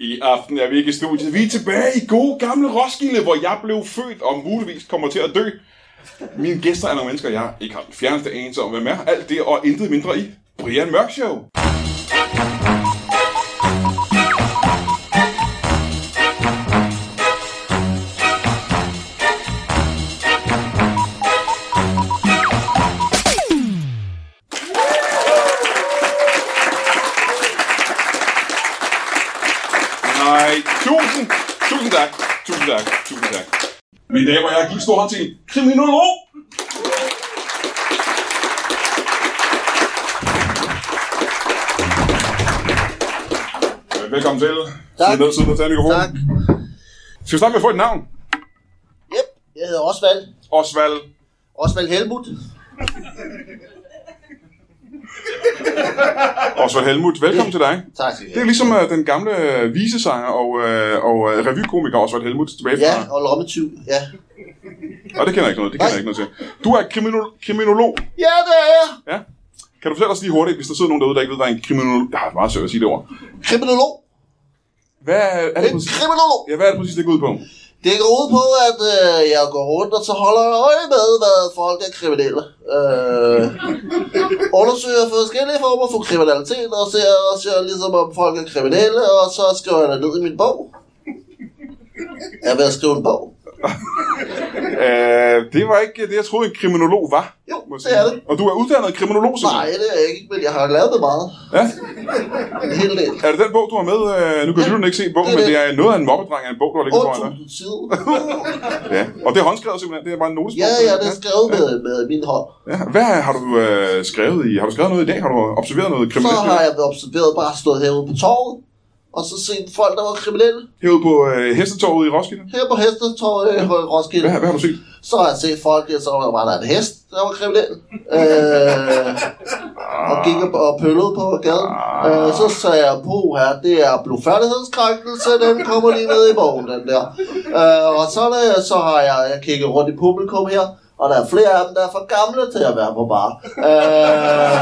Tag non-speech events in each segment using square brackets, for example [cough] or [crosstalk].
I aften er vi ikke i studiet. Vi er tilbage i gode gamle Roskilde, hvor jeg blev født og muligvis kommer til at dø. Mine gæster er nogle mennesker, jeg ikke har den fjerneste anelse om, hvem er. Alt det og intet mindre i Brian Mørk Show. Nej, tusind, tusind tak, tusind tak, tusind tak. Mine damer og herrer, giv en stor hånd til en kriminolog. Øh, Velkommen til. Tak. Sid ned, sid ned, tag mikrofonen. Tak. Skal vi starte med at få et navn? Yep, jeg hedder Osvald. Osvald. Osvald Helmut. Osvald Helmut, velkommen til dig. Tak. Det er ligesom uh, den gamle øh, visesanger og, uh, og uh, revykomiker Osvald Helmut tilbage Ja, fra. og lommetyv. Ja. Og det kender jeg ikke noget, det kender jeg ikke noget til. Du er kriminol- kriminolog. ja, det er jeg. Ja. Kan du fortælle os lige hurtigt, hvis der sidder nogen derude, der ikke ved, hvad en kriminolog... Jeg har meget svært ved at sige det ord. Kriminolog. Hvad er- er det En præcis? kriminolog. Ja, hvad er det præcis, det går ud på? Det går ud på, at øh, jeg går rundt og så holder øje med, hvad folk er kriminelle. Øh, undersøger forskellige former for kriminalitet og ser, og ser ligesom, om folk er kriminelle, og så skriver jeg det ned i min bog. Jeg er ved at skrive en bog. Uh, det var ikke det, jeg troede, en kriminolog var. Jo, må jeg det sige. er det. Og du er uddannet kriminolog, Nej, det er jeg ikke, men jeg har lavet det meget. Ja. En hel del. Er det den bog, du har med? Øh, nu kan Ja, lytterne ikke se bogen, det er men det. det er noget af en mobbedreng af en bog, du har ligget foran dig. 8.000 sider. Ja. Og det er håndskrevet simpelthen, det er bare en notesbog. [laughs] Ja, ja, det er skrevet med, med min hånd. Ja, hvad har du øh, skrevet i? Har du skrevet noget i dag? Har du observeret noget Så kriminelt? har jeg været observeret bare stået herude på torvet, og så set folk, der var kriminelle, Herude på øh, Hestetorvet i Roskilde? her på hestetorvet i Roskilde. Hvad, hvad har du set? Så har jeg set folk, der så var der en hest, der var kriminel, øh, og gik og, og pøllede på gaden. Øh, så sagde jeg, på her, det er blufærdighedskrænkelse, den kommer lige ned i bogen, den der. Øh, og så, er det, så har jeg, jeg kigget rundt i publikum her, og der er flere af dem, der er for gamle til at være på bar. Øh,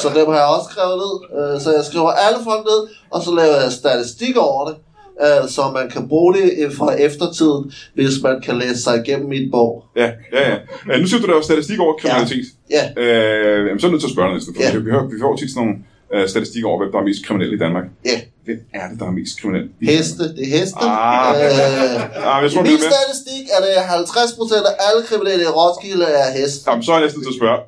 så dem har jeg også skrevet ned. Øh, så jeg skriver alle folk ned, og så laver jeg statistik over det, øh, så man kan bruge det øh, fra eftertiden, hvis man kan læse sig igennem min bog. Ja, ja, ja. Øh, nu siger du, der var statistik over kriminalitet. Ja, Øh, jamen, så er jeg nødt til at spørge dig næsten, for Ja. ja. vi, hører, vi får tit sådan nogle øh, statistikker over, hvem der er mest kriminel i Danmark. ja. Hvem er det, der er mest kriminel? i Danmark? Heste, det er heste. Ah. Øh, Ah, jeg I tror, det min er med. statistik er det 50% af alle kriminelle i Roskilde er hest. Jamen, så er jeg næsten til at spørge.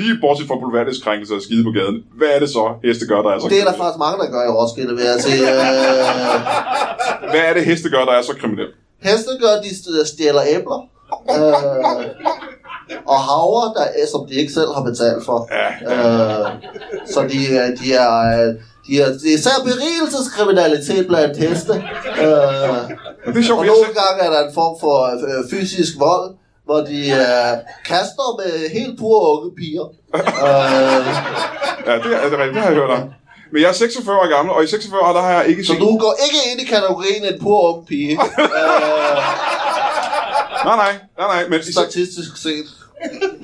Lige bortset fra bulværdisk krænkelse og skide på gaden, hvad er det så, heste gør, der er så Det er der kriminel? faktisk mange, der gør i Roskilde, vil jeg sige. Øh, Hvad er det, heste gør, der er så kriminel? heste gør, de stjæler æbler. Øh, og havre, der er, som de ikke selv har betalt for. Ja, Øh, så de, er- de er... øh, De er, det er især berigelseskriminalitet blandt heste. Øh, Men det er sjovt, og for jeg nogle selv... gange er der en form for øh, fysisk vold, hvor de øh, kaster med helt pure unge piger. Øh, Ja, det er, det er rigtigt, det har jeg hørt om. Men jeg er 46 år gammel, og i 46 år, der har jeg ikke så set... du går ikke ind i kategorien en pur ung pige, øh, Nej, nej, nej, nej, men i se- statistisk set.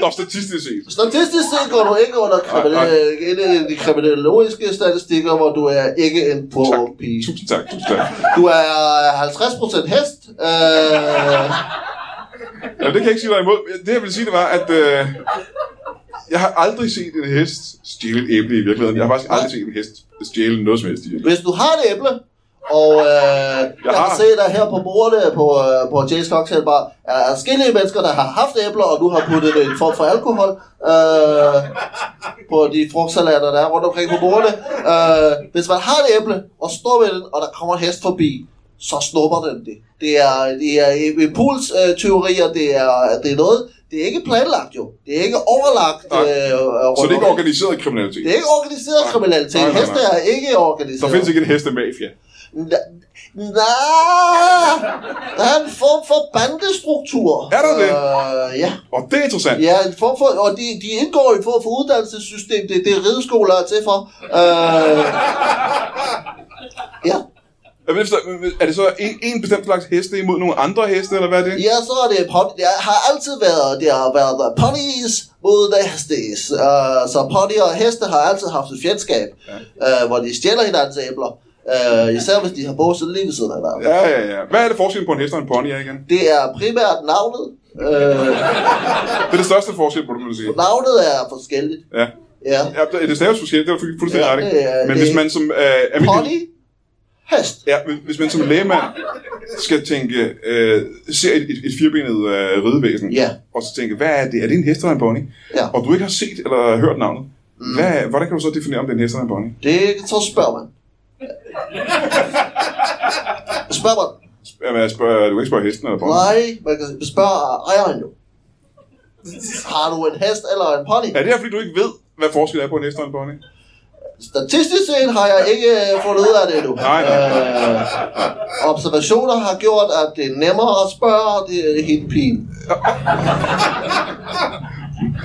Nå, statistisk set. Statistisk set går du ikke under kriminelle, ind i de kriminologiske statistikker, hvor du er ikke en pur Tak. ung pige. Tusind tak, tusind tak. Du er 50% hest. Øh, Ja, det kan jeg ikke sige dig imod. Det jeg vil sige, det var, at øh, jeg har aldrig set en hest stjæle et æble i virkeligheden. Jeg har faktisk aldrig set en hest stjæle noget som helst i virkeligheden. hvis du har et æble, og øh, jeg har kan det. se dig her på bordet på, øh, på Jay's Cocktail Bar, er forskellige mennesker, der har haft æbler, og nu har puttet en form for alkohol øh, på de frugtsalater, der er rundt omkring på bordet. Øh, hvis man har et æble, og står ved den, og der kommer en hest forbi, så snupper den det. Det er, det er impulsteorier, det er, det er noget, det er ikke planlagt jo. Det er ikke overlagt. Nej. Øh, Så det er ikke røveri. organiseret kriminalitet. det er ikke organiseret Nej. kriminalitet. Nej, nej, nej. Heste er ikke organiseret. Der findes ikke en hestemafia. Na- Nej, der er en form for bandestruktur. Er der det? Øh, ja. Og det er interessant. ja, en form for, og de, de indgår i en form for uddannelsessystem. Det, det er rideskoler er til for. Øh, ja. Jeg ved ikke forstå, men Er det så en, en bestemt slags heste imod nogle andre heste, eller hvad er det? ja, så er det pony. Det har altid været, det har været der ponies mod der hestes. Øh, så ponyer og heste har altid haft et fjendskab, øh, hvor de stjæler hinandens æbler. Øh, især hvis de har bukset lige ved siden af hinanden. Ja, ja, ja. Hvad er det forskellen på en hest og en pony er igen? Det er primært navnet. Øh, Det er det største forskel på det, må du sige. navnet er forskelligt. Ja. Ja. ja det- det staves forskelligt, det er du fu- fuldstændig Ja, ret i. det er- Men det- hvis man som øh, almindelig, Pony. Hest. ja, men hvis man som lægemand skal tænke, øh, ser et, et, et firbenet øh, ridevæsen, Ja. og så tænke, hvad er det? Er det en hest eller en pony? Ja. Mm. Og du ikke har set eller hørt navnet, hvad, hvordan kan du så definere, om det er en hest eller en pony? Det så spørger man. Spørger man. Jamen, jeg spørger, du kan ikke spørge hesten eller pony. Nej, man kan spørge ejeren jo. Har du en hest eller en pony? Er det her, fordi du ikke ved, hvad forskellen er på en hest og en pony? Statistisk set har jeg ikke øh, fundet ud af det endnu. Nej, nej. Øh, observationer har gjort, at det er nemmere at spørge, og det er helt pin.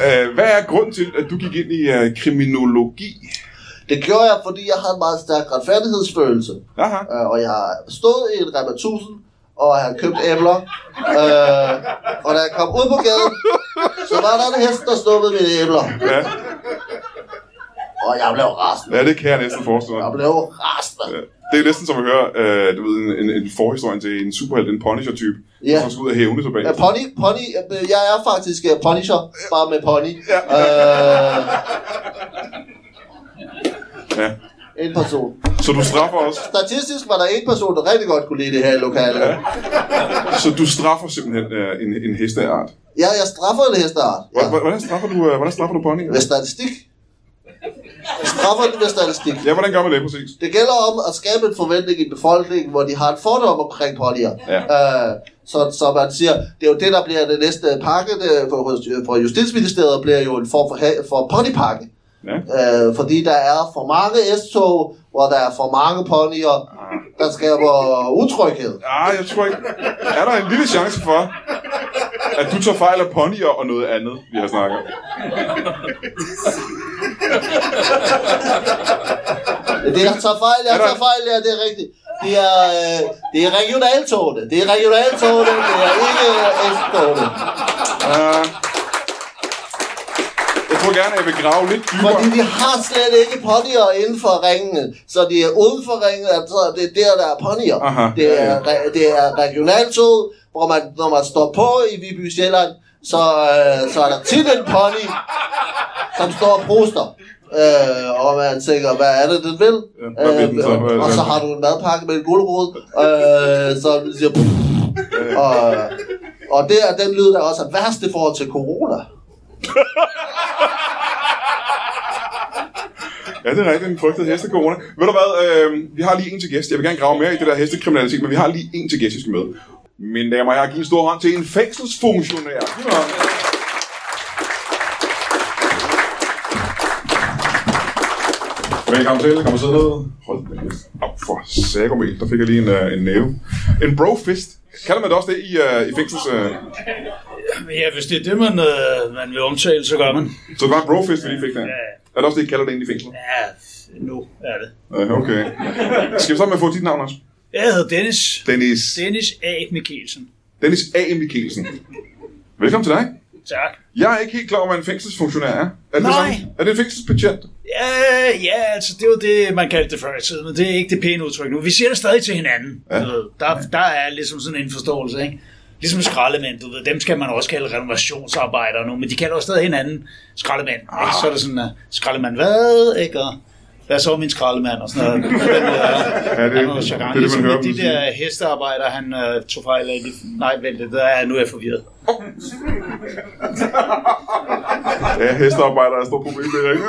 Øh, hvad er grunden til, at du gik ind i øh, kriminologi? Det gjorde jeg, fordi jeg har en meget stærk retfærdighedsfølelse. Aha. Øh, og jeg stod i en Rema 1000 og havde købt æbler. Øh, og da jeg kom ud på gaden, så var der en hest, der snuppede mine æbler. Ja, Og jeg blev rasende. ja det kan jeg næsten forestille mig. Jeg blev rasende. Ja. Det er næsten som at høre øh, du ved, en, en, en forhistorie til en superhelt, en Punisher-type, Ja. som skal ud og hævne sig bag. Ja, pony, pony, øh, jeg er faktisk øh, Punisher, bare med pony. Øh, Ja. en person. Så du straffer os. Statistisk var der en person, der rigtig godt kunne lide det her lokale. Så du straffer simpelthen øh, en, en hesteart. Ja, jeg straffer en hesteart. Ja. H- Hvordan straffer du, øh, hvordan straffer du pony? Med statistik. Jeg straffer den med statistik. Ja, hvordan gør man det præcis? Det gælder om at skabe en forventning i befolkningen, hvor de har en fordom omkring ponyer. Ja. Øh, så, så man siger, det er jo det, der bliver det næste pakke det, for, hos- for Justitsministeriet, bliver jo en form for, ha- for ponypakke. Ja. Øh, fordi der er for mange S-tog, hvor der er for mange ponyer, der skaber utryghed. Ah, jeg tror ikke. Er der en lille chance for, at du tager fejl af ponyer og noget andet, vi har snakket om? Det er, jeg tager fejl, jeg Er der- tager fejl, ja, det er rigtigt. Det er, øh, det er regionaltogene. Det er regionaltogene, det er ikke S-togene. Uh, jeg tror gerne, at jeg vil grave lidt dybere. Fordi vi har slet ikke ponyer inden for ringene, så det er uden for ringene, at så er det er der, der er ponyer. Aha, det, ja, er, re, det er regionaltog, hvor man, når man står på i Viby Sjælland, så, øh, så er der tit en pony, som står og proster. Øh, og man tænker, hvad er det, den vil? Øh, Ja, hvad vil den så? Hvad er det, og så den- har du en madpakke med en guldrod, øh, så den siger... Pff, og, og det er den lyd, der også er værst i forhold til corona. Ja, det er rigtigt, en frygtet hestekorona. Ved du hvad, øh, vi har lige en til gæst. Jeg vil gerne grave mere i det der hestekriminalitet, men vi har lige en til gæst, jeg skal med. Mine damer og herrer, giv en stor hånd til en fængselsfunktionær. Giv en hånd. Velkommen til, kom og sidde ned. Hold da kæft. Op for sagomel, der fik jeg lige en, øh, en næve. En brofist. Kalder man det også det i, øh, i fængsels... Øh? Ja, hvis det er det, man, øh, man vil omtale, så gør man. Så det var en brofist, vi lige fik der. Er det også det, I kalder det egentlig i fængsel? Ja, nu er det. Øh, okay. Skal vi så med at få dit navn også? Jeg hedder Dennis. Dennis. Dennis A. Mikkelsen. Dennis A. Mikkelsen. Velkommen til dig. Tak. Jeg er ikke helt klar over, hvad en fængselsfunktionær er. Er det, Nej. det samme? er det en fængselsbetjent? Ja, ja, altså det var det, man kaldte det før i tiden, men det er ikke det pæne udtryk nu. Vi siger det stadig til hinanden. Ja. Ja. Du ved. Der, der er ligesom sådan en forståelse, ikke? Ligesom skraldemænd, du ved, dem skal man også kalde renovationsarbejdere nu, men de kalder også stadig hinanden skraldemænd. Ah. Ikke? Så er det sådan, uh, skraldemand hvad, ikke? Og hvad så min skraldemand og [laughs] sådan noget. Ja, det, det- det er det, man hører dem Ligesom De sige. der hestearbejdere, han uh, tog fejl af. de- Nej, vent lidt, der er, nu er jeg forvirret. Ja, hestearbejder øh, er et stort problem, det er ikke?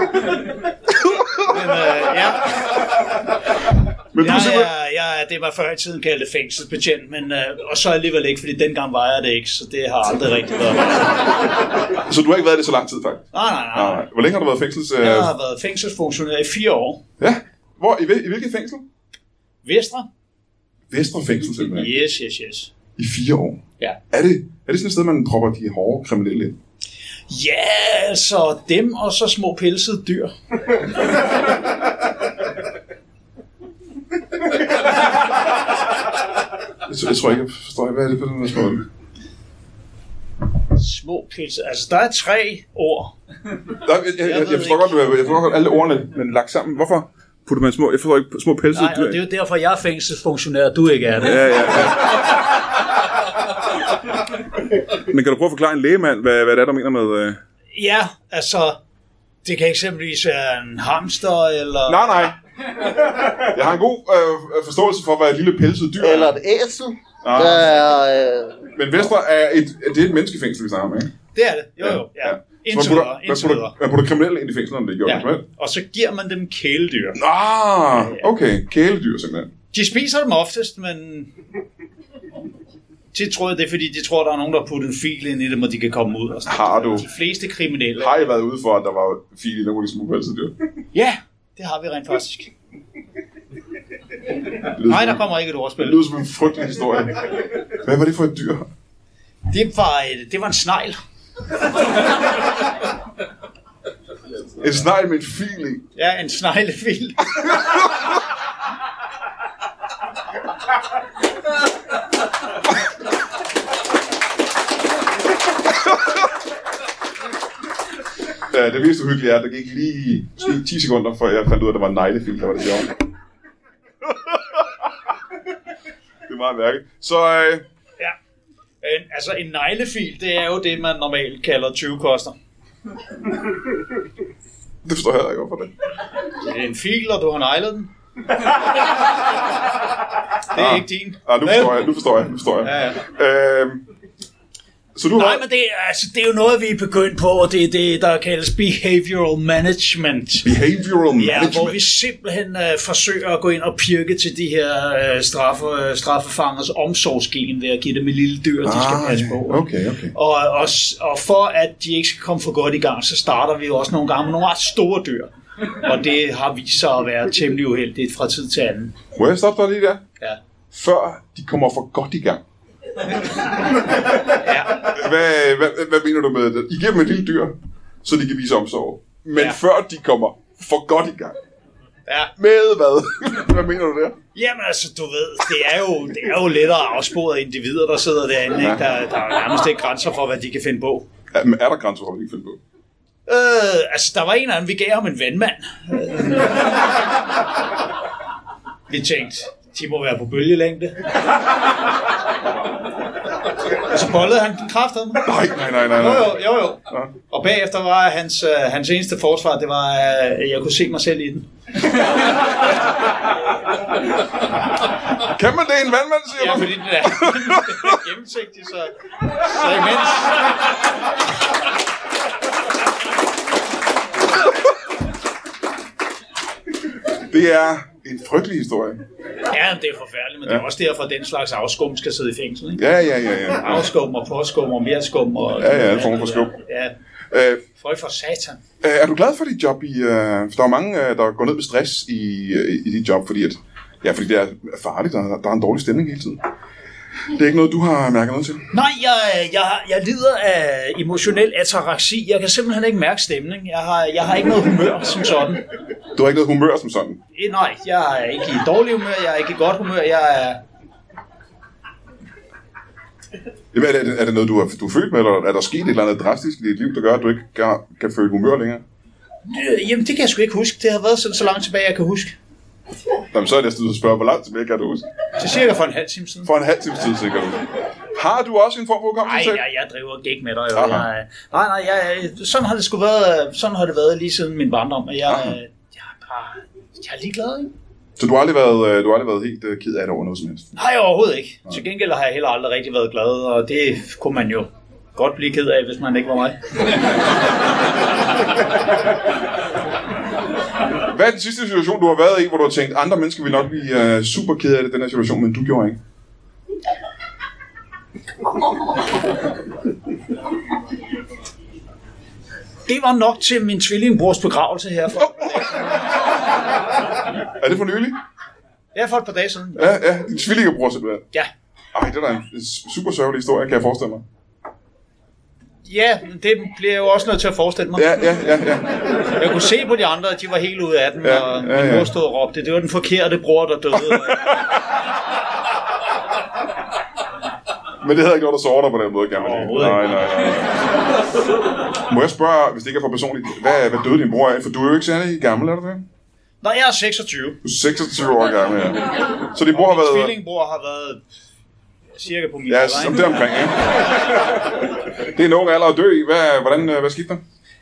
Men, uh, ja. Men Men du er Jeg simpelthen... er, jeg er, det var før i tiden kaldte fængselsbetjent, men, øh, og så alligevel ikke, fordi dengang var jeg det ikke, så det har aldrig rigtig været. Nej, Så du har ikke været i det så lang tid, faktisk? nej, nej. Nej. Hvor længe har du været fængsels... Øh... Jeg har været fængselsfunktionær i fire år. Ja. Hvor, i, hvil- I hvilket fængsel? Vestre? Vestre fængsel, simpelthen. Yes, yes, yes. I fire år. Ja. Er det, er det sådan et sted, man propper de hårde kriminelle ind? Ja, så dem og så små pelsede dyr. Jeg, tror- jeg tror ikke, jeg forstår, hvad er det for den spørgsmål? Små pelsede. Altså, der er tre ord. Nej, jeg, jeg, jeg, jeg, forstår godt, hvad- jeg forstår godt alle ordene, men lagt sammen. Hvorfor putter man små, jeg forstår ikke, små pelsede Nej, og det er jo derfor, jeg er fængselsfunktionær, og du ikke er det. Ja, ja, ja. Men kan du prøve at forklare en lægemand, hvad, hvad det er, du mener med... Øh... Ja, altså, det kan eksempelvis være en hamster, eller... Nej, nej. Jeg har en god øh, forståelse for, hvad et lille pelset dyr Eller er. et æsel. Ah. Der er, øh, Men Vestre er et, det er et menneskefængsel, vi snakker om, ikke? Det er det, jo jo. Ja. Så man Indtil putter, videre, man, indtil putter, videre. man putter kriminelle ind i fængslerne, det gjorde ja. Ja. Og så giver man dem kæledyr. Ah, okay. Kæledyr, simpelthen. De spiser dem oftest, men... Det tror jeg, det er fordi, de tror, der er nogen, der har puttet en fil ind i dem, og de kan komme ud. Og sådan. Har du- De fleste kriminelle. Har I været ude for, at der var fil i nogle af de små pelsede dyr? Ja, det har vi rent faktisk. Det lyder Nej, som- der kommer ikke et ordspil. Det lyder som en frygtelig historie. Hvad var det for et dyr? Det var, et- det var en snegl. En snegl med en fil i. Ja, en [laughs] sneglefil. Ja, det mest uhyggelige er, at der gik lige måske 10 sekunder, før jeg fandt ud af, at der var en neglefil, der var det sjovt. det er meget mærkeligt. Så øh, Ja. En, altså, en neglefil, det er jo det, man normalt kalder 20-koster. det forstår jeg heller ikke, hvorfor det. Det er en fil, og du har neglet [laughs] den. Det er ikke din. Ah, nu forstår jeg, nu forstår jeg, nu forstår jeg. Ja, ja. Øhm, så du har Nej, men det, er- altså, det er jo noget, vi er begyndt på, og det er det, der kaldes behavioral management. behavioral Ja, hvor management. vi simpelthen øh, forsøger at gå ind og pirke til de her øh, straffe, øh, straffefangers omsorgsgen ved at give dem et lille dyr, de skal passe på. Ah, Okay, okay. Og, og, s- og for at de ikke skal komme for godt i gang, så starter vi jo også nogle gange med nogle ret store dyr. Og det har vist sig at være temmelig uheldigt fra tid til anden. Må jeg stoppe dig lige der? Ja. Før de kommer for godt i gang. Ja. Hvad, hvad, hvad mener du med det? I giver dem et lille dyr, så de kan vise omsorg. Men Ja. ja. før de kommer for godt i gang. Ja. Med hvad? [laughs] hvad mener du der? Jamen altså, du ved, det er jo, det er jo lettere afsporet individer, der sidder derinde. Ikke? Der, der er nærmest ikke grænser for, hvad de kan finde på. Ja, men er der grænser for, hvad de kan finde på? Øh, altså, der var en eller anden, vi gav ham en vandmand. Øh. vi tænkte, de må være på bølgelængde. Og så bollede han den kraftedeme. Nej, nej, nej, nej. Jo, nej. jo, jo, jo. Ja. Og bagefter var hans, øh, hans eneste forsvar, det var, at jeg kunne se mig selv i den. Kan man det i en vandmand, siger Ja, du? fordi den er [laughs] gennemsigtig, så, så imens... [laughs] Det er en frygtelig historie. Ja, det er forfærdeligt, men ja. det er også derfor, at den slags afskum skal sidde i fængsel. Ikke? Ja, ja, ja, ja. Afskum og påskum og mere skum. Og Ja, ja, en form for skum. Ja, Øh, folk for satan. Øh, Er du glad for dit job i... Øh, for der er jo mange, øh, der går ned med stress i, øh, i dit job, fordi, at, ja, fordi det er farligt, og der er en dårlig stemning hele tiden. Det er ikke noget, du har mærket noget til. Nej, jeg, jeg, jeg lider af emotionel ataraksi. Jeg kan simpelthen ikke mærke stemning. Jeg har, jeg har ikke noget humør som sådan. Du har ikke noget humør som sådan. Eh, Nej, jeg er ikke i dårlig humør, jeg er ikke i godt humør, jeg er... Jamen, er, det, er det noget, du er, du er født med, eller er der sket et eller andet drastisk i dit liv, der gør, at du ikke kan, kan føle humør længere? Øh, Jamen, det kan jeg sgu ikke huske. Det har været sådan så langt tilbage, jeg kan huske. Jamen, så er det næsten at spørge, hvor langt tilbage kan du huske? Det er cirka for en halv time siden. For en halv times tid, sikkert. Har du også en form for Nej, hukommelse? selv? jeg, jeg driver gik med dig. Jo. Aha. Jeg, nej, nej, jeg, sådan har det sgu været, øh, sådan har det været lige siden min barndom. Og jeg, Aha. øh, jeg er bare, jeg er ligeglad, ikke? Så du har aldrig været, øh, du har aldrig været helt øh, ked af det over noget som helst? Nej, overhovedet ikke. Til gengæld har jeg heller aldrig rigtig været glad, og det kunne man jo godt blive ked af, hvis man ikke var mig. Hvad er den sidste situation, du har været i, hvor du har tænkt, andre mennesker vil nok blive øh, super kede af det, den her situation, men du gjorde ikke? Det var nok til min tvillingbrors begravelse her for, Er det for nylig? ja, for et par dage siden. Ja, ja. Din tvillingebror simpelthen. Ja, Ej, det er da en super sørgelig historie, kan jeg forestille mig. ja men det bliver jeg jo også nødt til at forestille mig. Ja, ja, ja, ja. Jeg kunne se på de andre, at de var helt ude af den, Ja, ja, og ja, ja, ja. min mor stod og råbte, det var den forkerte bror, der døde. [laughs] Men det havde ikke noget, der sårer dig på den måde, kan man sige. Overhovedet Nej, nej, nej. Må jeg spørge, hvis det ikke er for personligt, hvad, hvad døde din bror af? For du er jo ikke særlig gammel, er du det? Når jeg er 26, Du er 26 år gammel, ja. Så din bror har min været... tvillingbror har været cirka på min Ja, alder, som ikke? det omkring, ja. [laughs] Det er en ung alder at dø i. Hvad, hvordan, øh, hvad skete der?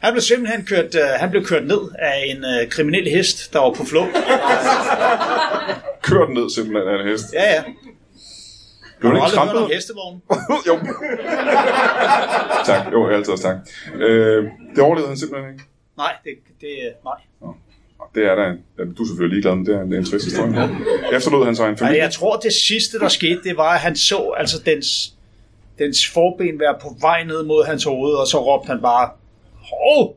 Han blev simpelthen kørt, øh, han blev kørt ned af en øh, kriminel hest, der var på flugt. Kørt ned simpelthen af en hest. Ja, ja. Blev Har den ikke du aldrig hørt trampet? om hestevogn? [laughs] jo. tak. Jo, altid også tak. Øh, det overlevede han simpelthen ikke. Nej, det, det øh, nej. Og Det er da en, ja, du er selvfølgelig ligeglad, men det er en, det er en trist historie. Efterlod han så en Altså, familie. jeg tror, det sidste, der skete, det var, at han så altså dens, dens forben være på vej ned mod hans hoved, og så råbte han bare, Hov!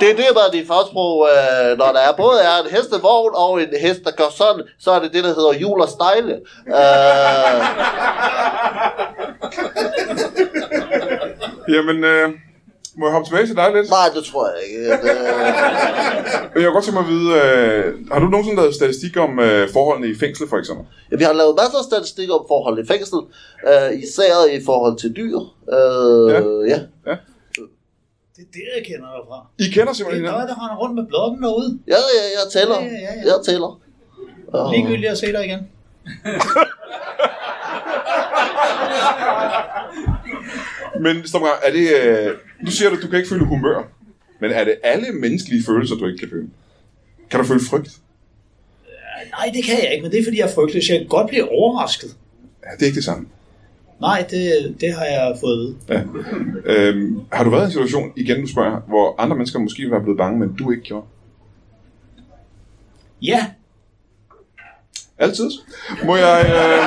Det er det, der er det fagsprog, øh, når der er både er en hestevogn og en hest, der gør sådan, så er det det, der hedder hjul og stejle. Øh, Jamen, øh, må jeg hoppe tilbage til dig lidt? nej, det tror jeg ikke. Øh, Jeg kunne godt tænke mig at vide, øh, har du nogensinde lavet statistik om øh, forholdene i fængsel, for eksempel? Ja, Vi har lavet masser af statistik om forhold i fængsel, øh, især i forhold til dyr. Øh, Ja. ja. ja. Det er det, jeg kender dig fra. I kender Det simpelthen er hinanden. dig, der render rundt med blokken derude. Ja, ja, jeg tæller. Ja, ja, ja. Jeg tæller. Øh, Ligegyldigt at se dig igen. Men Stormgar, er det... Øh, nu siger du, at du kan ikke føle humør. Men er det alle menneskelige følelser, du ikke kan føle? Kan du føle frygt? Nej, det kan jeg ikke, men det er, fordi jeg er frygtløs. Jeg kan godt blive overrasket. Ja, det er ikke det samme. Nej, det, det har jeg fået at vide. Ja. Øhm, har du været i en situation, igen nu spørger jeg, hvor andre mennesker måske ville være blevet bange, men du ikke gjorde? Ja, Altid. Må jeg... Øh...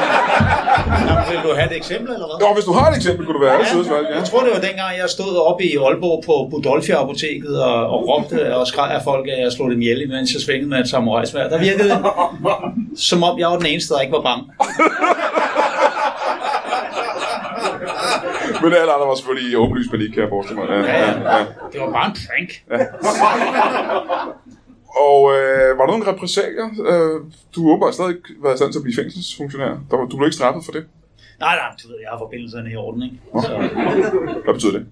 Jamen, vil du have et eksempel, eller hvad? Nå, hvis du har et eksempel, kunne du være altid. Ja. Jeg tror, det var dengang, jeg stod oppe i Aalborg på Budolfi-apoteket og, og råbte og skreg af folk, at jeg slog dem ihjel, mens jeg svingede med en samurajsvær. Der virkede det, som om jeg var den eneste, der ikke var bange. Men alle andre var selvfølgelig i åbenlys panik, kan jeg forestille mig. Ja, ja, ja. Det var bare en prank. Og øh, var der nogen repressalier? Øh, du har åbenbart stadig ikke været i stand til at blive fængselsfunktionær. Der, var- du blev ikke straffet for det. Nej, nej, du ved, jeg har forbindelserne i orden, ikke? Så, Hvad betyder det?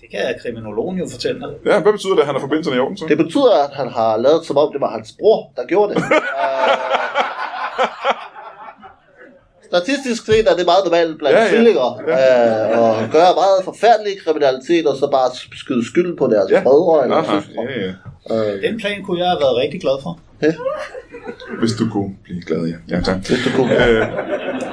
det kan kriminologen jo fortælle dig. Ja, hvad betyder det, at han har forbindelserne i orden? Så? Det betyder, at han har lavet, som om det var hans bror, der [laughs] gjorde det. Øh, Statistisk set er det meget normalt blandt Ja, ja, ja. ja. tvillinger øh, og gøre meget forfærdelig kriminalitet og så bare skyde skylden på deres Ja. ja. brødre eller Aha, søstre. ja, ja. Øh, Den plan kunne jeg have været rigtig glad for. Hvis du kunne blive glad, ja. Ja, tak. hvis du kunne. Øh,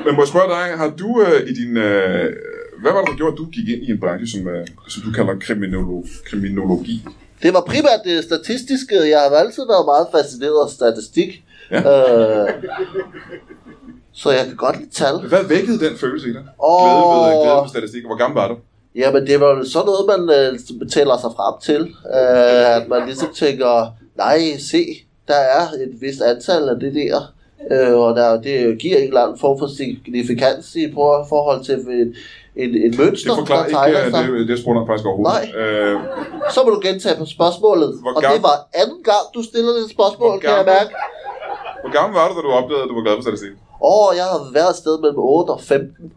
men må jeg spørge dig, har du øh, i din... Øh, hvad var det, der gjorde, at du gik ind i en branche, som, øh, som du kalder kriminolog, kriminologi? Det var primært det statistiske. Jeg har altid været meget fascineret af statistik. Ja. Ja. Øh, så jeg kan godt lide tal. Hvad vækkede den følelse i dig? Åh. Glæde ved, øh, glæde ved statistik. Hvor gammel var du? Jamen, det var jo sådan noget, man øh, betaler sig frem til. Øh, at man ligesom tænker, nej, se, der er et vist antal af det der. Øh, og der, det giver en eller anden form for signifikans i por- forhold til en, en, en Det mønster, forklarer der ikke, tegner øh, sig. det, det spurgte han faktisk overhovedet. Nej. Øh, Så må du gentage på spørgsmålet. Hvor Og gammel- det var anden gang, du stillede det Hvor spørgsmål, kan jeg gammel- mærke. hvor gammel var du, da du opdagede, at du var glad for statistik? Åh, oh, jeg har været et sted mellem 8 og [laughs] 15.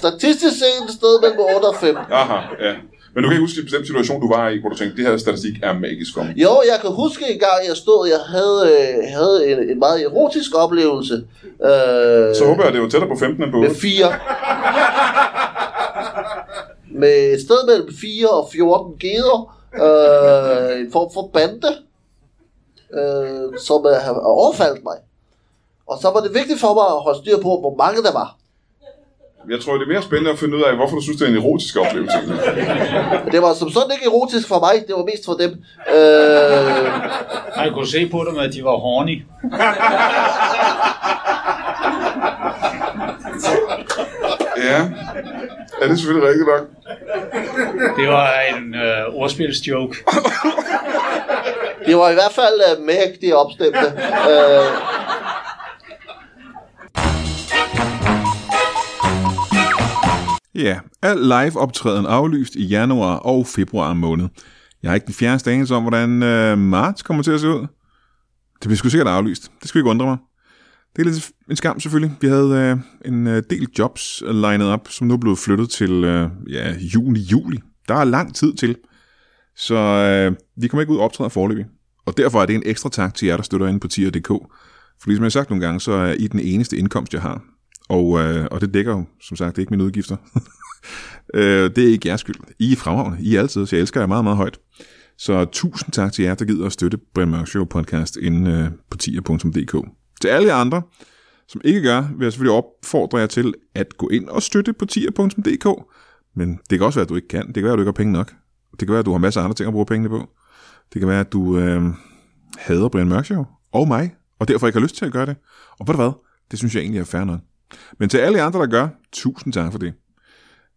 Statistisk set et sted mellem 8 og 15. Aha, ja. Men du kan ikke huske en bestemt situation, du var i, hvor du tænkte, det her statistik er magisk for mig. Jo, jeg kan huske en gang, jeg stod, jeg havde, øh, havde en, en meget erotisk oplevelse. Øh, Så håber jeg, det var tættere på 15 end på 8. Med 4. Med et sted mellem 4 og 14 geder. Øh, en form for bande, øh, som øh, har overfaldt mig. Og så var det vigtigt for mig at holde styr på, hvor mange der var. Jeg tror, det er mere spændende at finde ud af, hvorfor du synes, det er en erotisk oplevelse. Det var som sådan ikke erotisk for mig, det var mest for dem. Øh, Jeg kunne se på dem, at de var horny. ja. Ja, det er selvfølgelig rigtigt nok. Det var en øh, ordspilsjoke. de var i hvert fald øh, mægtige opstemte. Øh, Ja, al live optræden aflyst i januar og februar måned. Jeg har ikke den fjerde anelse om, hvordan øh, marts kommer til at se ud. Det bliver sgu sikkert aflyst. Det skal ikke undre mig. Det er lidt en skam selvfølgelig. Vi havde øh, en øh, del jobs øh, lined op, som nu er blevet flyttet til øh, ja, juni-juli. Der er lang tid til. Så øh, vi kommer ikke ud og optræder forløbig. Og derfor er det en ekstra tak til jer, der støtter inde på tier.dk. Fordi som jeg har sagt nogle gange, så er I den eneste indkomst, jeg har. Og, øh, og det dækker jo, som sagt, ikke mine udgifter. øh, det er ikke jeres skyld. I er fremragende. I er altid, så jeg elsker jer meget, meget højt. Så tusind tak til jer, der gider at støtte Brian Mørk Show podcast inde øh, på tier.dk. Til alle jer andre, som ikke gør, vil jeg selvfølgelig opfordre jer til at gå ind og støtte på tier.dk. Men det kan også være, at du ikke kan. Det kan være, at du ikke har penge nok. Det kan være, at du har masser af andre ting at bruge pengene på. Det kan være, at du øh, hader Brian Mørk Show og mig, og derfor ikke har lyst til at gøre det. Og ved du hvad? Det synes jeg egentlig er fair nok. Men til alle jer andre, der gør, tusind tak for det.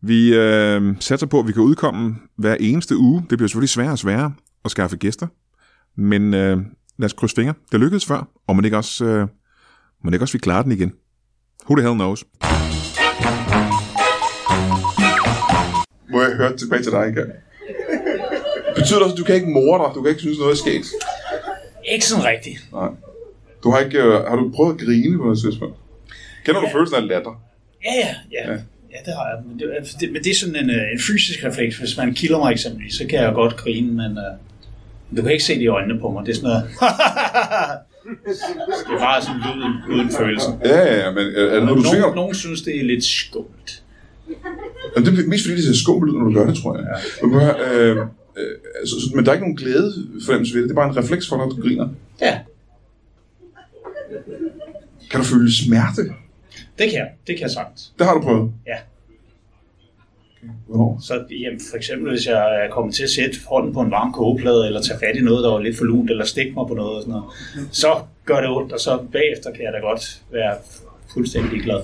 Vi øh, satser på, at vi kan udkomme hver eneste uge. Det bliver selvfølgelig sværere og sværere at skaffe gæster. Men øh, lad os krydse fingre. Det lykkedes før, og man ikke også, øh, man ikke også vi klarer den igen. Who the hell knows? Må jeg høre tilbage til dig igen? Betyder det også, at du kan ikke morde dig? Du kan ikke synes, noget er sket? Ikke sådan rigtigt. Nej. Du har, ikke, øh, har du prøvet at grine på noget tidspunkt? Kender du følelsen af latter? Ja, ja, ja. Ja. ja. Ja, det har jeg. Men det, er- det, men det er sådan en, øh, en fysisk refleks. Hvis man kilder mig eksempelvis, så kan jeg godt grine, men øh, du kan ikke se det i øjnene på mig. Det er sådan noget... [laughs] det er bare sådan lyden, uden følelse. Ja, ja, ja, men øh, er det noget, du synger? Nogen, nogen synes, det er lidt skumt. Jamen, det er mest fordi, det ser skummelt ud, når du gør det, tror jeg. Men, prøv, at høre, øh, øh, altså, så- men der er ikke nogen glæde fornemmelse ved det. Det er bare en refleks for dig, at du griner. Ja, Kan du føle smerte? det kan jeg. Det kan jeg sagtens. Det har du prøvet. Ja. Hvornår? Så jamen, for eksempel, hvis jeg er kommet til at sætte hånden på en varm kogeplade, eller tage fat i noget, der var lidt for lunt, eller stikke mig på noget, og sådan noget, så gør det ondt, og så bagefter kan jeg da godt være fuldstændig glad.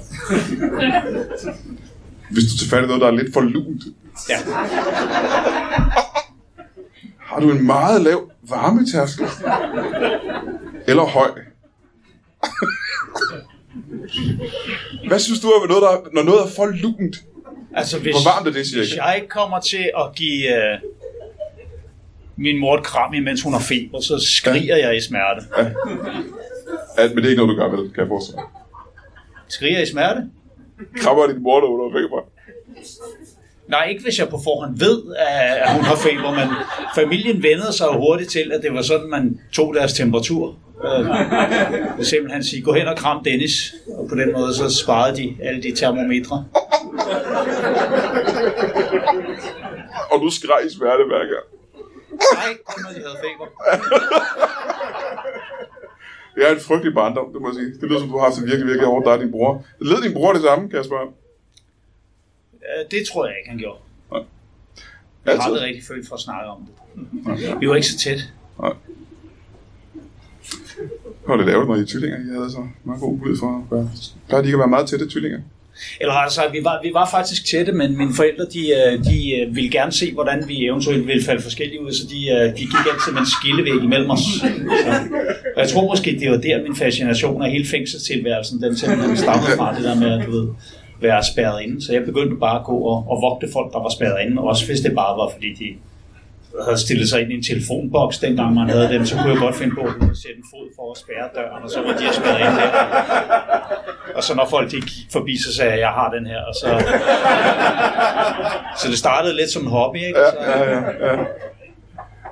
Hvis du tager fat i noget, der er lidt for lunt, Ja. har du en meget lav varmetærskel. Eller høj. [laughs] Hvad synes du om noget, der, er- når noget er for lunt? Altså, hvis, Hvor varmt er det cirka? Hvis jeg ikke kommer til at give øh, min mor et kram, imens hun har feber, så skriger jeg i smerte. At, men det er ikke noget, du gør, vel? Kan jeg forestille mig. Skriger jeg i smerte? Krammer din mor, der under feber. Nej, ikke hvis jeg på forhånd ved, at at hun har feber, men familien vendede sig jo hurtigt til, at det var sådan, man tog deres temperatur. Øh, vil simpelthen sige, gå hen og kram Dennis. Og på den måde, så sparede de alle de termometre. Og du skreg i smerte hver gang. Nej, kun når de havde feber. Det er en frygtelig barndom, det må jeg sige. Det lyder som, du har haft det virkelig, virkelig hårdt, dig og din bror. Led din bror det samme, kan jeg spørge? Øh, det tror jeg ikke, han gjorde. Jeg har Altid. aldrig rigtig følt for at snakke om det. Vi var ikke så tæt. Hvor det lavede, når I er tvillinger, I havde så meget god mulighed for at være. Plejer de ikke at være meget tætte tvillinger? Eller rettere sagt, vi var, vi var faktisk tætte, men mine forældre de, øh, de øh, ville gerne se, hvordan vi eventuelt ville falde forskellige ud, så de, øh, de gik altid med en skillevæg imellem os. Så, og jeg tror måske, det var der min fascination af hele fængselstilværelsen, den simpelthen stammede fra det der med at du ved, være spærret inde. Så jeg begyndte bare at gå og, og vogte folk, der var spærret inde, også hvis det bare var, fordi de havde stillet sig ind i en telefonboks, dengang man havde dem, så kunne jeg godt finde på at sætte en fod for at spærre døren, og så var de at spærre ind der. Og så når folk de gik forbi, så sagde jeg, jeg har den her. Og så, så det startede lidt som en hobby, ikke? Så, Ja, ja, ja.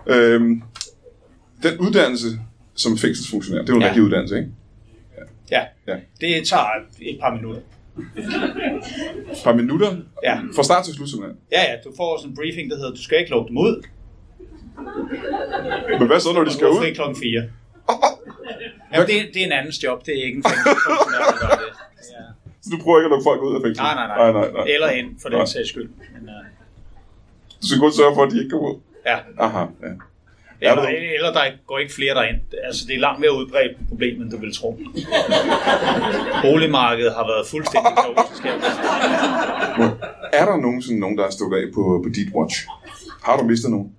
Øhm, den uddannelse som fængselsfunktionær, det er jo en Ja. rigtig uddannelse, ikke? ja. Ja. Det tager et par minutter. Et par minutter Ja. fra start til slut, simpelthen. Ja, ja, du får sådan en briefing, der hedder, du skal ikke lukke dem ud. Men hvad så, når de skal Du er ud? fri klokken 4. [laughs] Jamen, det, er- det er en andens job, det er ikke en fængselsfunktionær, der gør det. Ja. Du prøver ikke at lukke folk ud af fængslet. Nej, nej, nej. nej, nej, nej. Eller ind, for Nej. den sags skyld. Men, øh, Du skal kun sørge for, at de ikke kommer ud. ja. Aha, ja. Er Eller, du- eller der går ikke flere derind. Altså, det er langt mere udbredt problem, end du vil tro. Boligmarkedet har været fuldstændig kaotisk her. Er der nogensinde nogen, der er stået af på, på dit watch? Har du mistet nogen?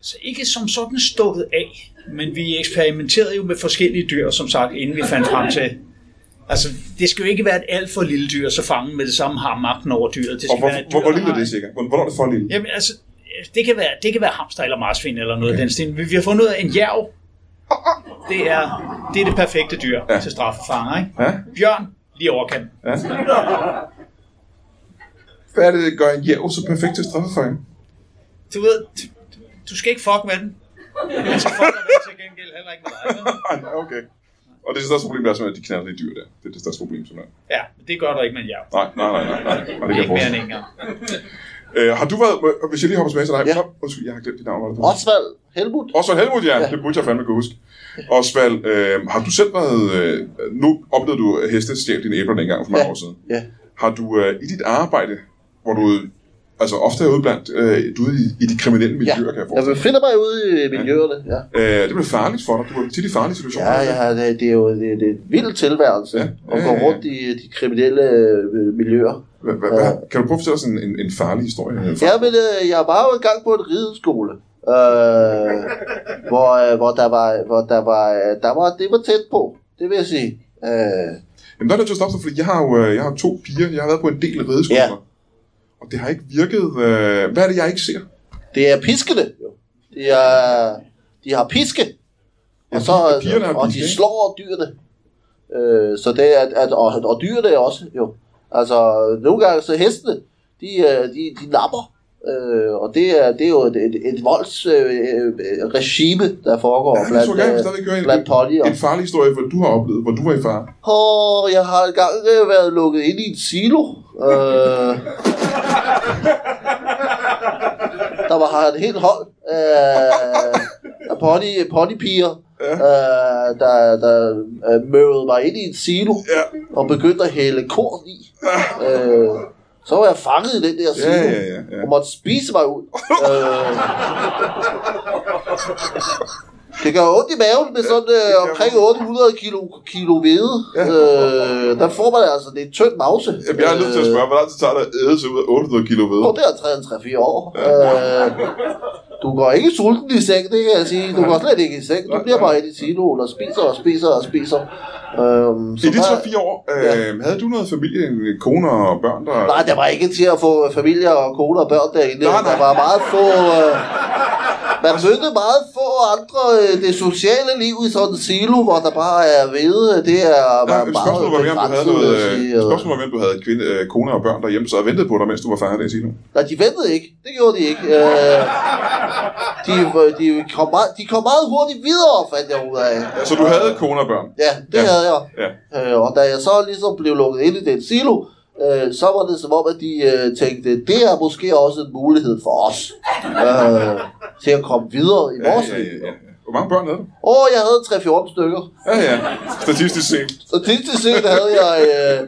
Så ikke som sådan stukket af, men vi eksperimenterede jo med forskellige dyr, som sagt, inden vi fandt frem til. Altså, det skal jo ikke være et alt for lille dyr, så fange med det samme har magten over dyret. Det skal Og hvor, være et dyr, hvor, hvor der lille er har- det cirka? Hvor- Hvornår er det for lille? Jamen, altså, det kan være, det kan være hamster eller marsvin eller noget okay. den stil. Vi, vi har fundet ud af en jerv. Det er det, er det perfekte dyr Ja. ja. til straffefanger, ikke? Ja? Bjørn, lige overkant. Ja? Hvad er det, der gør en jæv så perfekt til straffefanger? Du ved, du, du skal ikke fuck med den. Men så fucker den til gengæld heller ikke med dig. vel? Ah, nej, okay. Og det største problem er simpelthen, at de knaller de dyr der. Det er det største problem, simpelthen. Ja, men det gør du ikke med en jerv. Nej, nej, nej, nej, nej. nej det kan jeg Ikke mere forestille. end en gang. mig. Øh, har du været, må- hvis jeg lige hopper tilbage til dig, Ja. så, undskyld, jeg har glemt dit navn. hvad er det? Osvald Helmut. Osvald Helmut, ja. Ja. Det burde jeg fandme kunne huske. Osvald, øh, har du selv været... Øh, nu oplevede du at heste stjæl dine æbler dengang for mange Ja. år siden. Ja. Har du øh, i dit arbejde, hvor du altså ofte er ude blandt, øh, du er i, i de kriminelle ja. miljøer, ja. kan jeg Jeg forestille befinder mig ude i miljøerne, ja. mig. øh, Det bliver farligt for dig. Du er tit i farlige situationer. Ja, ja, det, det er jo det, det er en vild tilværelse Ja. ja. Ja, at gå ja, ja. rundt i de kriminelle øh, miljøer. Hva, hva, hva, kan du prøve at fortælle os en, en, en farlig historie? En farlig- Ja, men øh, jeg var jo engang på en rideskole, øh, hvor, øh, hvor, der var, hvor der var, øh, der var, det var tæt på, det vil jeg sige. Øh, Jamen, der er nødt til at stoppe dig, fordi jeg har jo øh, jeg har to piger. Jeg har været på en del rideskoler. Ja. Og det har ikke virket... Øh, hvad er det, jeg ikke ser? det er piskende, jo. De, er, de har piske, Ja, og, så, pi- pigerne har og piske, de ikke? slår dyrene. Øh, så det er, at, og, og dyrene også, jo. Altså, nogle gange så hestene, de, øh, de, de napper. Øh, og det er, det er jo et, et, et voldsregime, øh, regime, der foregår Ja, det blandt, tror jeg, øh, hvis der vil køre en, blandt Polly og en farlig historie, hvor du har oplevet, hvor du var i fare. Åh, jeg har engang øh, været lukket ind i en silo. Øh, der var har et helt hold øh, af pony, ponypiger, øh, der, der øh, møvede mig ind i en silo Ja. og begyndte at hælde korn i. Øh, så var jeg fanget i den der silo. Ja, ja, ja, ja. Og måtte spise mig [laughs] ud. Øh, det gør ondt i maven med sådan øh, gør omkring 800 kilo, kilo hvede. Ja. Øh, der får man altså, det er en tynd mavse. Jamen, jeg er nødt til at spørge, hvor lang tid tager det at æde sig ud af 800 kilo ved? Øh, På det er 3-4 år. Øh, du går ikke sulten i seng, det kan jeg sige. Du går slet ikke i seng. Du bliver bare i siloen og spiser og spiser og spiser. Øhm, I de der- 3-4 år, øh, havde du noget familie, en kone og børn, der... Nej, der var ikke til at få familier og kone og børn derinde. Nej, nej. Der var meget få... Øh, man mødte meget få andre. Øh, det sociale liv i sådan en silo, hvor der bare er ved, det er Ja, var men spørgsmålet var mere, om du havde begrænset, noget, vil jeg øh, sige, og- spørgsmålet var mere, om du havde kvinde, øh, kone og børn derhjemme, så og ventede på dig, mens du var færdig i silo. Nej, de ventede ikke. Det gjorde de ikke. Øh, de, øh, de, kom meget, de kom meget hurtigt videre, fandt jeg ud af. Så du havde kone og børn? Ja, det Ja. ja. havde jeg. Ja. Øh, og da jeg så ligesom blev lukket ind i den silo, øh, så var det som om, at de øh, tænkte, det er måske også en mulighed for os øh, til at komme videre i vores ja, liv. ja, ja, ja. Hvor mange børn havde du? Åh, jeg havde 3-14 stykker. Ja, ja. Statistisk set. Statistisk set havde jeg... Øh,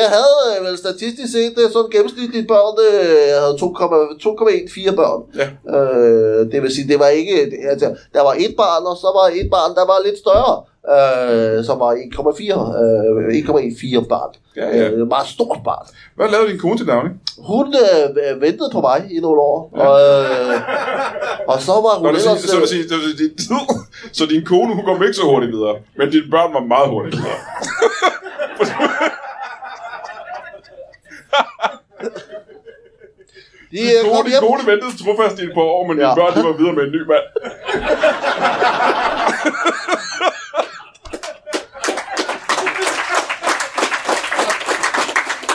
jeg havde øh, vel statistisk set øh, sådan gennemsnitligt børn, øh, jeg havde 2,14 børn. Ja. Øh, det vil sige, det var ikke... Altså, der var et barn, og så var et barn, der var lidt større, øh, som var 1,4 øh, 1,14 barn. Ja, ja. Øh, meget stort barn. Hvad lavede din kone til daglig? Hun øh, ventede på mig i nogle år, ja. og, [laughs] øh, og så var hun Nå, det vil sige, ellers... så, øh, vil sige, det vil sige, [laughs] din- så din kone, hun kom ikke så hurtigt videre, men dine børn var meget hurtigt videre. de, Din øh, kom kone, din hjem kone ventede trofast i et par år, men dine Ja. børn de var videre med en ny mand.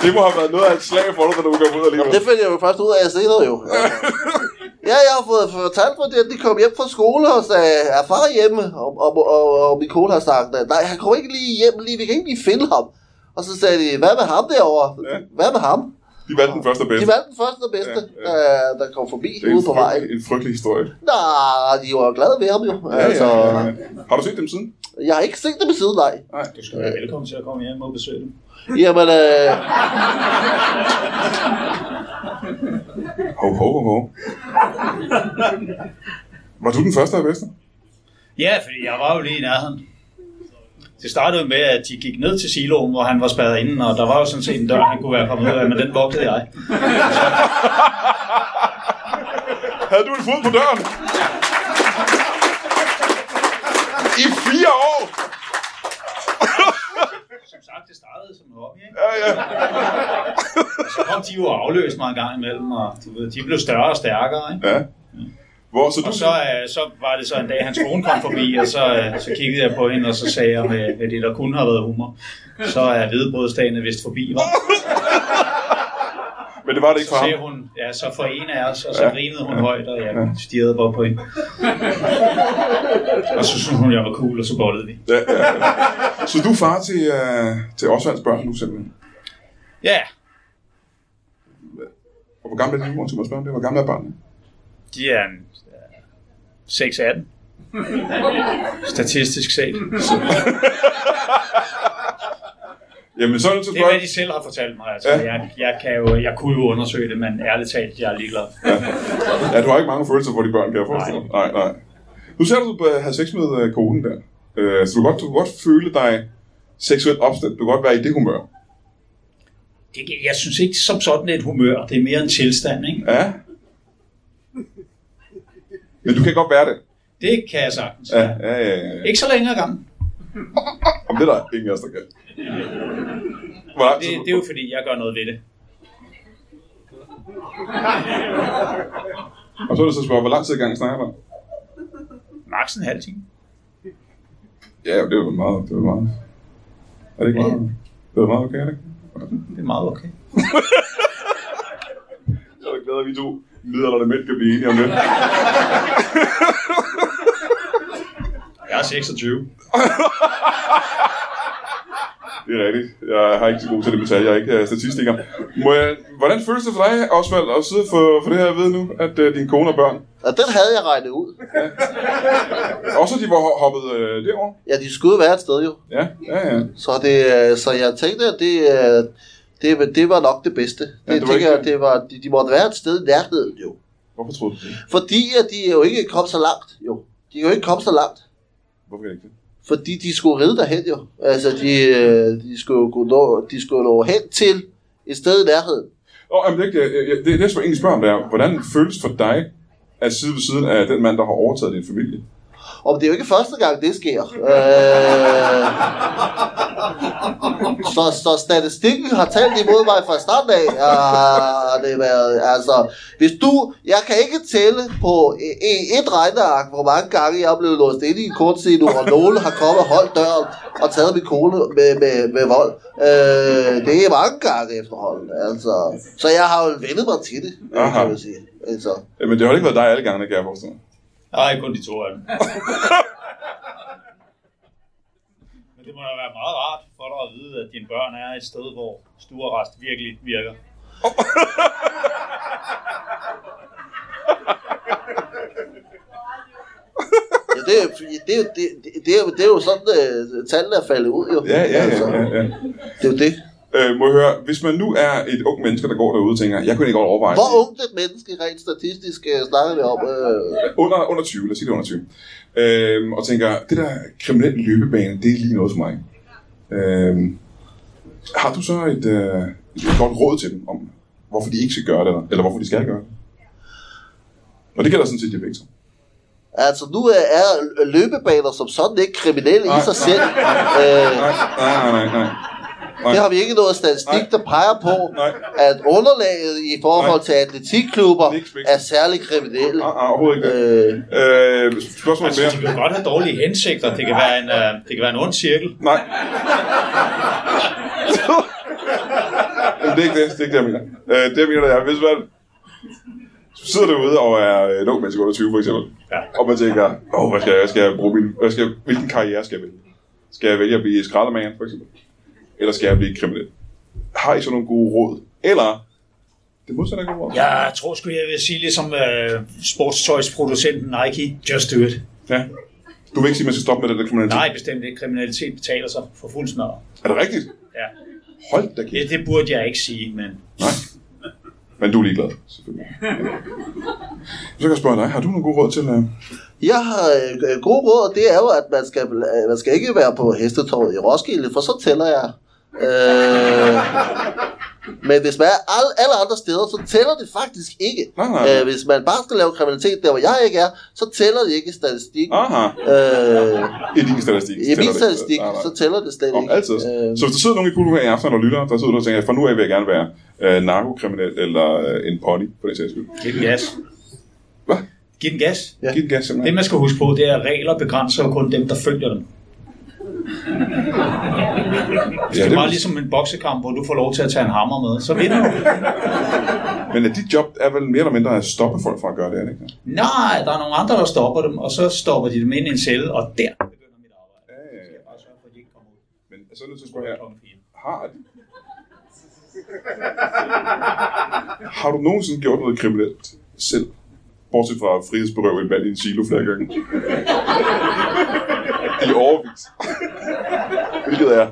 Det må have været noget af et slag for dig, da du kom ud alligevel. Det fandt jeg jo først ud af senere [laughs] jo. Ja, jeg har fået fortalt fra det, at de kom hjem fra skole og sagde, er far hjemme? Og, og, og, og min kone har sagt, at nej, han kommer ikke lige hjem lige, vi kan ikke lige finde ham. Og så sagde de, hvad med ham derovre? Ja. Hvad med ham? De valgte den første og De bedste. valgte den første og bedste, Ja, ja, ja. der kom forbi Det er en, ude på vejen. frygtelig, en frygtelig historie. Nej, de var glade ved ham jo. Altså, Har du set dem siden? Jeg har ikke set det ved siden, nej. Nej. Du skal være velkommen til at komme hjem og besøge dem. Jamen, øh, Ho, ho, ho, ho. Var du den første og bedste? Ja, fordi jeg var jo lige i nærheden. Det startede med, at de gik ned til siloen, hvor han var spadet inden, og der var jo sådan set en dør, han kunne være kommet ud af, men den vogtede jeg. Havde du en fod på døren? I fire år! Som sagt, det startede som en hobby, ikke? Ja, ja. Og så kom de jo og afløste mig en gang imellem, og du ved, de blev større og stærkere, ikke? ja. Hvor så du? Mm. Og så, øh, så var det så en dag, hans kone kom forbi, og så, øh, så kiggede jeg på hende, og så sagde jeg med, med det, der kunne have været humor, så er hvidebrodsdagene vist forbi, var. Men det var det Så ikke for ham. ser hun, ja, så for en af os, og så Ja. ja. grinede hun højt, og jeg ja. stirrede bare på hende. og så syntes hun, jeg var cool, og så bollede vi. Ja, ja. Så du er far til, øh, til Osvalds børn nu simpelthen? Ja, Og hvor gammel er din mor, til at spørge om det? Hvor gammel er barnet? de er en, øh, 6 af den. Statistisk set. Jamen, så er det til at Det er, spørge. hvad de selv har fortalt mig. Altså, Ja. jeg, jeg, kan jo, jeg kunne jo undersøge det, men ærligt talt, jeg er ligeglad. Ja, du har ikke mange følelser for de børn, kan jeg forestille mig. Nej, nej. Nu ser du, at du har sex med øh, konen der. Øh, så du kan, godt, du kan godt føle dig seksuelt opstemt. Du kan godt være i det humør. Det, jeg synes ikke, som sådan det er et humør. Det er mere en tilstand, ikke? Ja. Men du kan godt være det. Det kan jeg sagtens. Ja, ja, ja. ja. Ikke så længe ad gangen. Om det er der ingen af os, der kan. Hvor lang Det, tid, det er jo fordi, jeg gør noget ved det. Og så er det så spørger, hvor lang tid i gang snakker man? Max en halv time. Ja, det er jo meget, det er jo meget. Er det ikke meget? Det er jo meget okay, er det ikke? Det er meget okay. Så er det glad, at vi to midalderne mænd kan blive enige om det. Jeg er 26. Det er rigtigt. Jeg har ikke så god til det med tal. Jeg er ikke øh, statistiker. Må jeg, hvordan føles det for dig, Osvald, at sidde for, for det her at vide nu, at uh, dine kone og børn, og den havde jeg regnet ud. også de var ho- hoppet uh, derover? Ja, de skulle jo være et sted jo. Ja, ja, ja. Så, det, øh, så jeg tænkte, at det, øh, det, det var nok det bedste. Ja, Det, ja, det var det tænker ikke- jeg, det var, de, de måtte være et sted i nærheden jo. Hvorfor troede du det? Fordi at de jo ikke kom så langt jo. De kan jo ikke komme så langt. Hvorfor ikke det? Fordi de skulle ride derhen jo. Altså, de, øh, de skulle jo kunne nå, de skulle nå hen til et sted i nærheden. Og jamen, det, er ikke, jeg, jeg, det, det, jeg skulle egentlig spørge om, det er, hvordan føles det for dig, at sidde ved siden af den mand, der har overtaget din familie? Og det er jo ikke første gang, det sker. Øh, så, så statistikken har talt imod mig fra starten af. Har det været, altså, hvis du, jeg kan ikke tælle på e- e- et regneark, hvor mange gange jeg er blevet låst inde i en kort tid nu, og nogle har kommet og holdt døren og taget min kone med, med, med vold. Øh, det er mange gange efterhånden. Altså. Så jeg har jo vendet mig til det, Aha. Aha. kan man sige. Altså. Jamen, det har ikke været dig alle gange, kan jeg forestille mig. Nej, kun de to af dem. Men det må da være meget rart for dig at vide, at dine børn er et sted, hvor stuerrest virkelig virker. Ja, det, er, det, er- det, det, det, er, det er jo sådan, øh, tallene er faldet ud, jo. Ja, ja, ja. Altså, ja, ja. Det er jo det. Øh, må jeg høre, hvis man nu er et ung menneske, der går derude og tænker, jeg kunne ikke godt overveje... Hvor ungt et menneske rent statistisk øh, snakker vi om? Øh, under, under 20, lad os sige det er under 20, øhm, og tænker, det der kriminelle løbebane, det er lige noget for mig. Øhm, har du så et, øh, et godt råd til dem om, hvorfor de ikke skal gøre det, eller, eller hvorfor de skal gøre det? Og det gælder sådan set de begge to. altså, nu er, er løbebaner som sådan ikke kriminelle i Nej, sig nej. selv. Øh, Nej, nej, nej, nej. nej. det har vi ikke noget statistik, Nej. der peger på, Nej. at underlaget i forhold Nej. til atletikklubber Det er ikke spændende. er særlig kriminelle. Ah, ah, overhovedet ikke det. Øh, Øh, spørgsmål Altså, de mere? vil godt have dårlige hensigter. Det kan være en, øh, det kan være en ond cirkel. Nej. Jamen, det er ikke det, det er ikke det, jeg mener. Øh, det, jeg mener, det er, hvis man sidder derude og er øh, en ung menneske under 20, for eksempel, Ja. og man tænker, åh, hvad skal jeg, skal jeg bruge min, hvad skal jeg, hvilken karriere skal jeg vælge? Skal jeg vælge at blive skraldemand, for eksempel? Eller skal jeg blive kriminel? Har I så nogle gode råd? Eller Det modsatte er godt. Jeg tror sgu, jeg vil sige ligesom uh, sportstøjsproducenten Nike. Just do it. ja. Du vil ikke sige, at man skal stoppe med den der kriminalitet? Nej, bestemt ikke. Kriminalitet betaler sig for fuld snør. Er det rigtigt? Ja. Hold da kæft. Det, det burde jeg ikke sige, men... Nej. Men du er ligeglad, selvfølgelig. Så kan jeg spørge dig, har du nogle gode råd til... Uh... Jeg har øh, øh, gode råd, og det er jo, at man skal, øh, man skal ikke være på hestetorvet i Roskilde, for så tæller jeg. Øh, men hvis man er alle, alle andre steder, så tæller det faktisk ikke. Nej, nej, nej. Øh, hvis man bare skal lave kriminalitet der, hvor jeg ikke er, så tæller det ikke i statistikken. Aha, Øh, i din statistik. I tæller min det. statistik, Nej, nej. så tæller det slet Om ikke. altid. Øh, Så hvis der sidder nogen i publikum her i aften og lytter, der sidder der og tænker, fra nu af vil jeg gerne være øh, narkokriminel eller øh, en pony, på den sags skyld. Giv den gas. Hvad? Giv den gas. Ja. Giv den gas Det, simpelthen. man skal huske på, det er, at regler begrænser jo kun dem, der følger dem. Hvis Ja, det det er vil- bare ligesom en boksekamp, hvor du får lov til at tage en hammer med, så vinder du. Men øh, dit job er vel mere eller mindre at stoppe folk fra at gøre det, er det ikke? Nej, der er nogle andre, der stopper dem, og så stopper de dem ind i en celle, og der begynder mit arbejde. Ja, ja, ja. Bare sørge for, at de ikke kommer ud. Men øh, så er jeg nødt til at spørge her, Klokken fire. har de... Har du nogensinde gjort noget kriminelt selv? Bortset fra at frihedsberøve en mand i en silo flere gange. I overvis. Hvilket er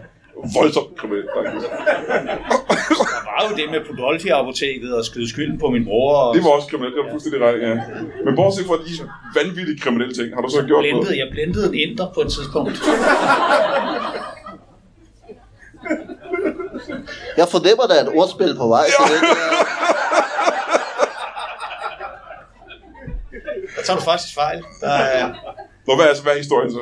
voldsomt kriminelt, faktisk. Der var jo det med Podolfi-apoteket og skyde skylden på min bror. Og Det var også kriminelt, det var fuldstændig ret, ja. Men bortset fra de vanvittige kriminelle ting, har du så gjort noget? blendede, jeg blendede en inder på et tidspunkt. Jeg fornemmer, der er et ordspil på vej. Så det, er- Der tager du faktisk fejl. Der er, Nå, hvad er, altså, hvad er historien så?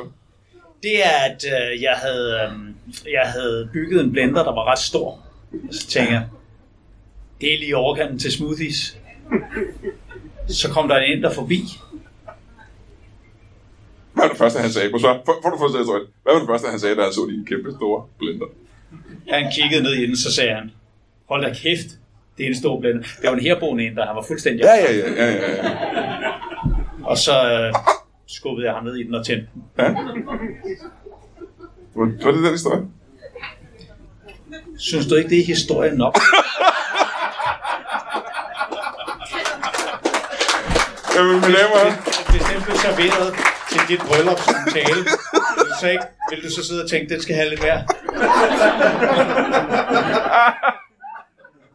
Det er, at øh, jeg, havde, øh, jeg havde bygget en blender, der var ret stor. Og så tænkte jeg, det er lige i overkanten til smoothies. Så kom der en ind, der forbi. Hvad var det første, han sagde? Prøv at svare. Får- Får du først historien? Hvad var det første, han sagde, da han så din kæmpe store blender? Han kiggede ned i den, så sagde han, hold da kæft, det er en stor blender. Det var en herboende ind, der han var fuldstændig... Ja, ja, ja, ja, ja. ja. Og så øh, skubbede jeg ham ned i den og tændte den. Ja. Var var det den historie? Synes du ikke, det er historien [laughs] nok? Jamen, mine damer og herrer, Hvis den blev serveret til dit bryllup som en tale, vil du, så ikke, vil du så sidde og tænke, den skal have lidt mere?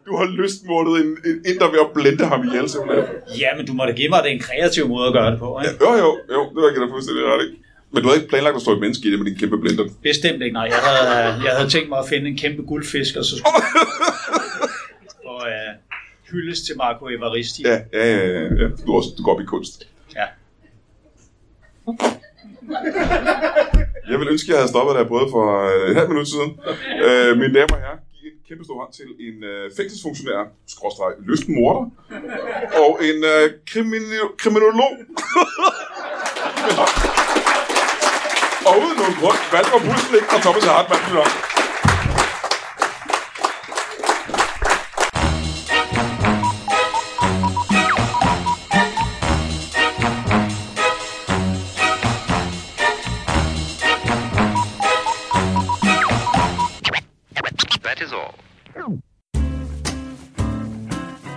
du har lystmordet en, en inder ved at blende ham ihjel, simpelthen. Ja, men du må da give mig, at det er en kreativ måde at gøre det på, ikke? Jo, jo, jo, det var ikke da fuldstændig ret, ikke? Men du havde ikke planlagt at slå et menneske i det med din kæmpe blender. Bestemt ikke, nej. Jeg havde, jeg havde tænkt mig at finde en kæmpe guldfisk, og så skulle og, øh, hyldes til Marco Evaristi. Ja, ja, ja, ja, ja. Du, er også, du går op i kunst. ja. Jeg vil ønske, at jeg havde stoppet, da jeg prøvede for øh, et halvt minut siden. Øh, mine damer og herrer, giv en kæmpe stor hånd til en øh, fængselsfunktionær, skråstreg, lysten morder, og en øh, kriminolo- kriminolog. [laughs] og uden nogen grund, Valdemar Busling og Thomas Hartmann. lytter op. That is all.